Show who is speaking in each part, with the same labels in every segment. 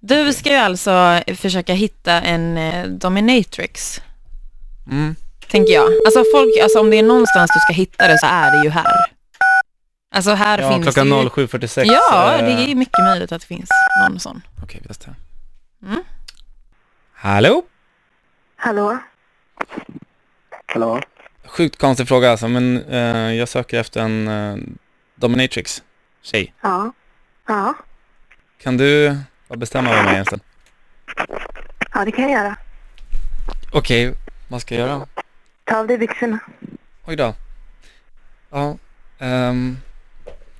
Speaker 1: Du ska ju alltså försöka hitta en eh, dominatrix,
Speaker 2: Mm.
Speaker 1: tänker jag. Alltså, folk, alltså om det är någonstans du ska hitta det så är det ju här. Alltså här
Speaker 2: Ja,
Speaker 1: finns
Speaker 2: klockan
Speaker 1: det ju...
Speaker 2: 07.46.
Speaker 1: Ja,
Speaker 2: eh,
Speaker 1: det är mycket möjligt att det finns någon sån.
Speaker 2: Okej, vi testar.
Speaker 1: Mm.
Speaker 2: Hallå?
Speaker 3: Hallå?
Speaker 4: Hallå?
Speaker 2: Sjukt konstig fråga alltså, men eh, jag söker efter en eh, dominatrix tjej.
Speaker 3: Ja. Ja,
Speaker 2: Kan du bara bestämma över mig en stund?
Speaker 3: ja det kan jag göra.
Speaker 2: Okej, vad ska jag göra?
Speaker 3: Ta av dig byxorna.
Speaker 2: Oj då. Ja, ehm,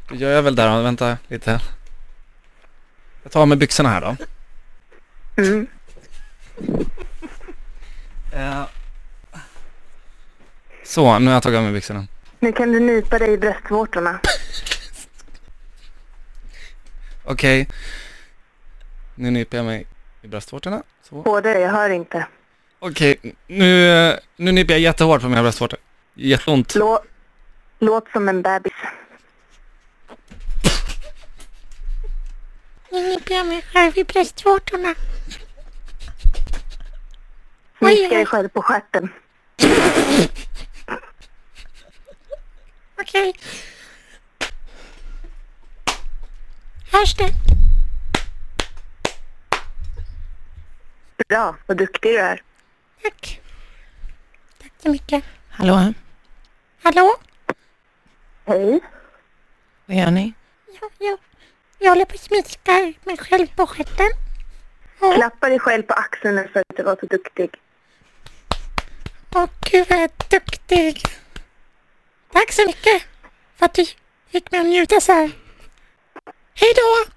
Speaker 2: då gör jag väl där då. Vänta lite. Jag tar av mig byxorna här då.
Speaker 3: Mm.
Speaker 2: Eh, Så, nu har jag tagit av mig byxorna.
Speaker 3: Nu kan du nypa dig i bröstvårtorna.
Speaker 2: Okej. Nu nyper jag mig i bröstvårtorna. Så.
Speaker 3: Båda, jag hör inte.
Speaker 2: Okej, nu, eh, nu nyper jag jättehårt på mina bröstvårtor. Jätteont.
Speaker 3: Lå... Låt som en bebis.
Speaker 5: Nu nyper jag mig själv i bröstvårtorna. Oj,
Speaker 3: Smiska
Speaker 5: oj.
Speaker 3: dig själv på stjärten.
Speaker 5: Okej. Hörs det?
Speaker 3: Bra, vad duktig du är.
Speaker 5: Tack. Tack så mycket.
Speaker 1: Hallå,
Speaker 5: Hallå?
Speaker 3: Hej.
Speaker 1: vad gör ni?
Speaker 5: Jag, jag, jag håller på att smiska mig själv på stjärten.
Speaker 3: Klappa dig själv på axeln för att du var så duktig.
Speaker 5: Åh gud vad jag är duktig. Tack så mycket för att du fick mig att njuta så här. Hej då!